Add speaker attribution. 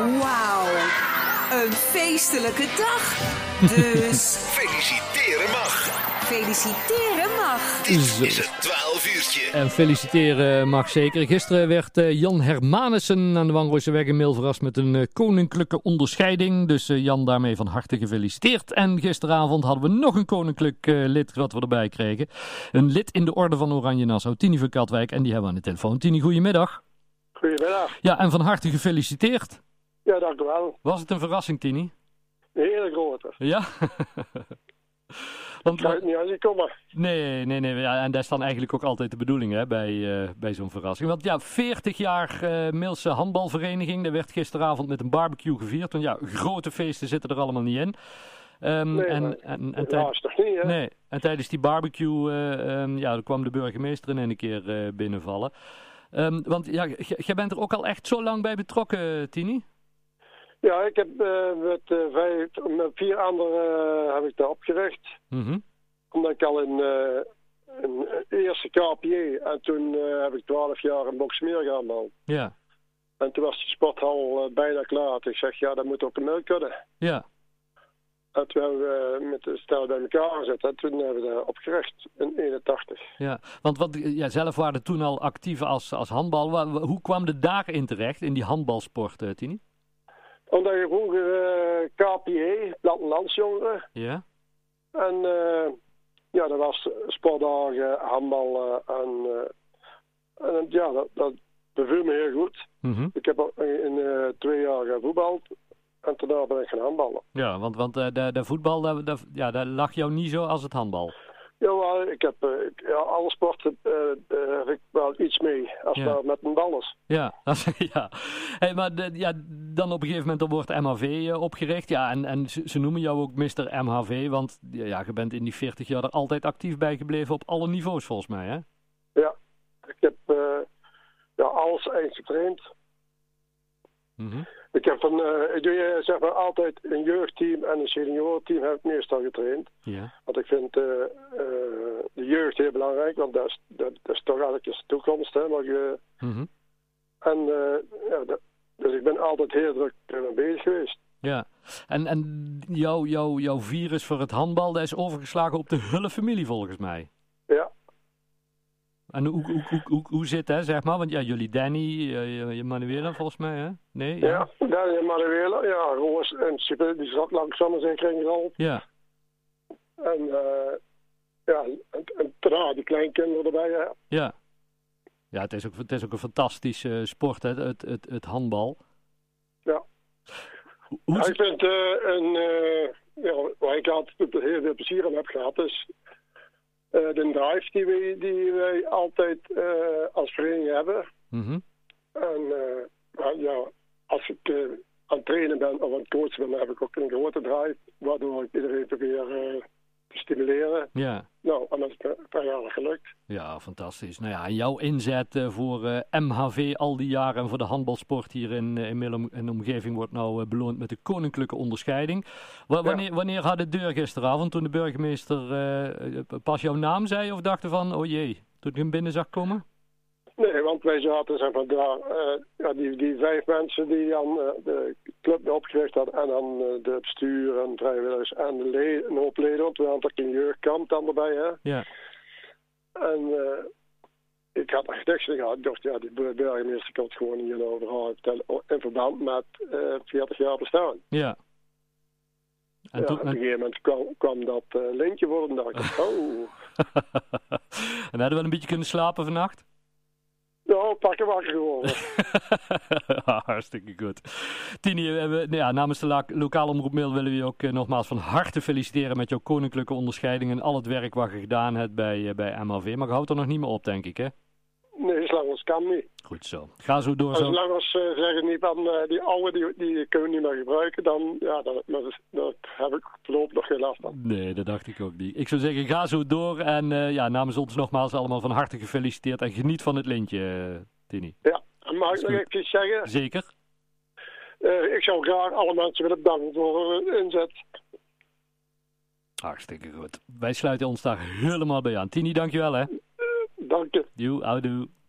Speaker 1: Wauw, een feestelijke dag. Dus
Speaker 2: Feliciteren mag.
Speaker 1: feliciteren mag.
Speaker 2: Dit
Speaker 3: Zo.
Speaker 2: is het 12 uurtje.
Speaker 3: En feliciteren mag zeker. Gisteren werd eh, Jan Hermanussen aan de Wanrooiseweg in Meel verrast met een eh, koninklijke onderscheiding. Dus eh, Jan daarmee van harte gefeliciteerd. En gisteravond hadden we nog een koninklijk eh, lid wat we erbij kregen. Een lid in de Orde van Oranje Nassau, Tini van Katwijk. En die hebben we aan de telefoon. Tini, goedemiddag.
Speaker 4: Goedemiddag.
Speaker 3: Ja, en van harte gefeliciteerd.
Speaker 4: Ja, dank u wel.
Speaker 3: Was het een verrassing, Tini?
Speaker 4: Een hele grote.
Speaker 3: Ja? Want, eh,
Speaker 4: Ik ga het niet aan je komen.
Speaker 3: Nee, nee, nee. Ja, en dat is dan eigenlijk ook altijd de bedoeling hè, bij, eh, bij zo'n verrassing. Want ja, 40 jaar eh Milse handbalvereniging. Dat werd gisteravond met een barbecue gevierd. Want ja, grote feesten zitten er allemaal niet in. Ehm,
Speaker 4: Nee, maar-
Speaker 3: en, en, en, tijd-
Speaker 4: Helaas toch niet, hè?
Speaker 3: nee, en tijdens die barbecue eh, ehm, ja, er kwam de burgemeester in een keer eh, binnenvallen. Ehm, want ja, j- jij bent er ook al echt zo lang bij betrokken, Tini?
Speaker 4: Ja, ik heb eh, met, eh, vijf, met vier anderen eh, heb ik dat opgericht.
Speaker 3: Mhm.
Speaker 4: Omdat ik al in, eh, in eh, eerste KPA en toen eh, heb ik twaalf jaar in Boksmeer gehandeld.
Speaker 3: Ja,
Speaker 4: En toen was die sporthal eh, bijna klaar. Toen ik zeg, ja, dat moet ook een melk kunnen.
Speaker 3: ja.
Speaker 4: En toen hebben we eh, met de stel bij elkaar gezet. En toen hebben we dat opgericht in 81.
Speaker 3: Ja, want wat, eh, ja, zelf waren we toen al actief als, als handbal. Wa- wa- Hoe kwam de daarin terecht, in die handbalsport, eh, Tini?
Speaker 4: Omdat je vroeger eh, KPA, plattelandsjongeren,
Speaker 3: Ja,
Speaker 4: En eh, ja, dat was sportdagen, handbal eh, en, eh, en ja, dat, dat beviel me heel goed.
Speaker 3: Mhm.
Speaker 4: Ik heb al in eh, twee jaar gevoetbald en daarna ben ik gaan handballen.
Speaker 3: ja want, want eh, de, de voetbal, daar daar- ja, daar lag jou niet zo als het handbal.
Speaker 4: Jawel, ik heb eh, ik- ja, alle sporten eh, eh, heb ik wel iets mee als
Speaker 3: Ja.
Speaker 4: maar met een bal is.
Speaker 3: Ja, als- ja. Hey, maar de- ja, dan op een gegeven moment dan wordt MHV eh, opgericht. Ja, en, en ze, ze noemen jou ook Mr. MHV, want ja, je bent in die 40 jaar er altijd actief bij gebleven op alle niveaus volgens mij, hè?
Speaker 4: Ja, ik heb eh, ja, alles eigen getraind.
Speaker 3: Mhm.
Speaker 4: Ik, heb van, eh, ik doe eh, zeg maar altijd een jeugdteam en een seniorenteam heb ik meestal getraind.
Speaker 3: Ja,
Speaker 4: Want ik vind eh, eh, de jeugd heel belangrijk, want dat is, dat, dat is toch eigenlijk de toekomst. Hè, maar je,
Speaker 3: Mhm.
Speaker 4: en, eh, ja, dat- dus ik ben altijd heel druk ermee bezig geweest.
Speaker 3: ja. En, en jouw jou, jou virus voor het handbal, dat is overgeslagen op de hele familie volgens mij.
Speaker 4: Ja,
Speaker 3: En hoe, hoe, hoe, hoe, hoe zit dat, zeg maar? Want ja, jullie Danny, eh, je, je Manuela volgens mij, hè? Nee?
Speaker 4: ja. Daniel Manuela, ja, Roos en Sibylle, die zat langzaam en zeker in de rol.
Speaker 3: Ja,
Speaker 4: En, eh, ja, en, en daarna die kleinkinderen erbij. Hè.
Speaker 3: ja. Ja, het is ook, het is ook een fantastische eh, sport, hè? Het, het, het handbal.
Speaker 4: Ja.
Speaker 3: Hoe- Hoe,
Speaker 4: Ja,
Speaker 3: is-
Speaker 4: ik vind eh, een, eh, ja, waar ik altijd heel veel plezier aan heb gehad, is eh, de drive die wij, die wij altijd eh, als vereniging hebben.
Speaker 3: Mhm.
Speaker 4: En eh, maar ja, als ik eh, aan het trainen ben of aan het coachen ben, dan heb ik ook een grote drive. Waardoor ik iedereen probeer eh, te stimuleren.
Speaker 3: ja.
Speaker 4: Nou, en dat is me jaren gelukt.
Speaker 3: Ja, fantastisch. Nou ja, en jouw inzet eh, voor eh, MHV al die jaren en voor de handbalsport hier in, eh, in Millem en omgeving wordt nou eh, beloond met de koninklijke onderscheiding. Wa- wanneer, wanneer had de deur gisteravond toen de burgemeester eh, eh, pas jouw naam zei of dachten van, oh jee, toen ik hem binnen zag komen?
Speaker 4: Nee, want wij zaten zeg maar, daar, eh, ja, die, die vijf mensen die dan eh, de club opgericht hadden. En dan eh, de bestuur en vrijwilligers en de leden, een hoop leden. Want we hadden ook een jeugdkamp dan erbij. Hè?
Speaker 3: Ja,
Speaker 4: En eh, ik had echt niks gehad. Ik dacht, ja, die burgemeester kan het gewoon hier overal vertellen. In verband met eh, 40 jaar bestaan.
Speaker 3: ja. En
Speaker 4: ja,
Speaker 3: toen,
Speaker 4: op een
Speaker 3: en,
Speaker 4: gegeven moment kwam, kwam dat eh, lintje voor en dacht ik, oh,
Speaker 3: en hadden we wel een beetje kunnen slapen vannacht?
Speaker 4: nou, pakken wakker geworden.
Speaker 3: Ah, Hartstikke goed. Tini, eh, we, nou ja, namens de la- lokale omroep Mail willen we je ook eh, nogmaals van harte feliciteren met jouw koninklijke onderscheiding en al het werk wat je gedaan hebt bij, eh, bij MHV. Maar je houdt er nog niet meer op, denk ik, hè?
Speaker 4: Nee, zolang als kan niet.
Speaker 3: Goed zo. Ga zo door
Speaker 4: En
Speaker 3: zo.
Speaker 4: zolang als eh, zeggen niet van, eh, die oude, die, die kunnen we niet meer gebruiken, dan, ja, dat, dat, dat heb ik voorlopig nog geen last van.
Speaker 3: Nee, dat dacht ik ook niet. Ik zou zeggen, ga zo door en eh, ja, namens ons nogmaals allemaal van harte gefeliciteerd en geniet van het lintje, eh, Tini.
Speaker 4: Ja, en mag
Speaker 3: Is
Speaker 4: ik nog
Speaker 3: goed.
Speaker 4: even iets zeggen?
Speaker 3: Zeker?
Speaker 4: Eh, ik zou graag alle mensen willen bedanken voor hun inzet.
Speaker 3: Hartstikke goed. Wij sluiten ons daar helemaal bij aan. Tini, dankjewel, hè?
Speaker 4: Dank je.
Speaker 3: You, houdoe.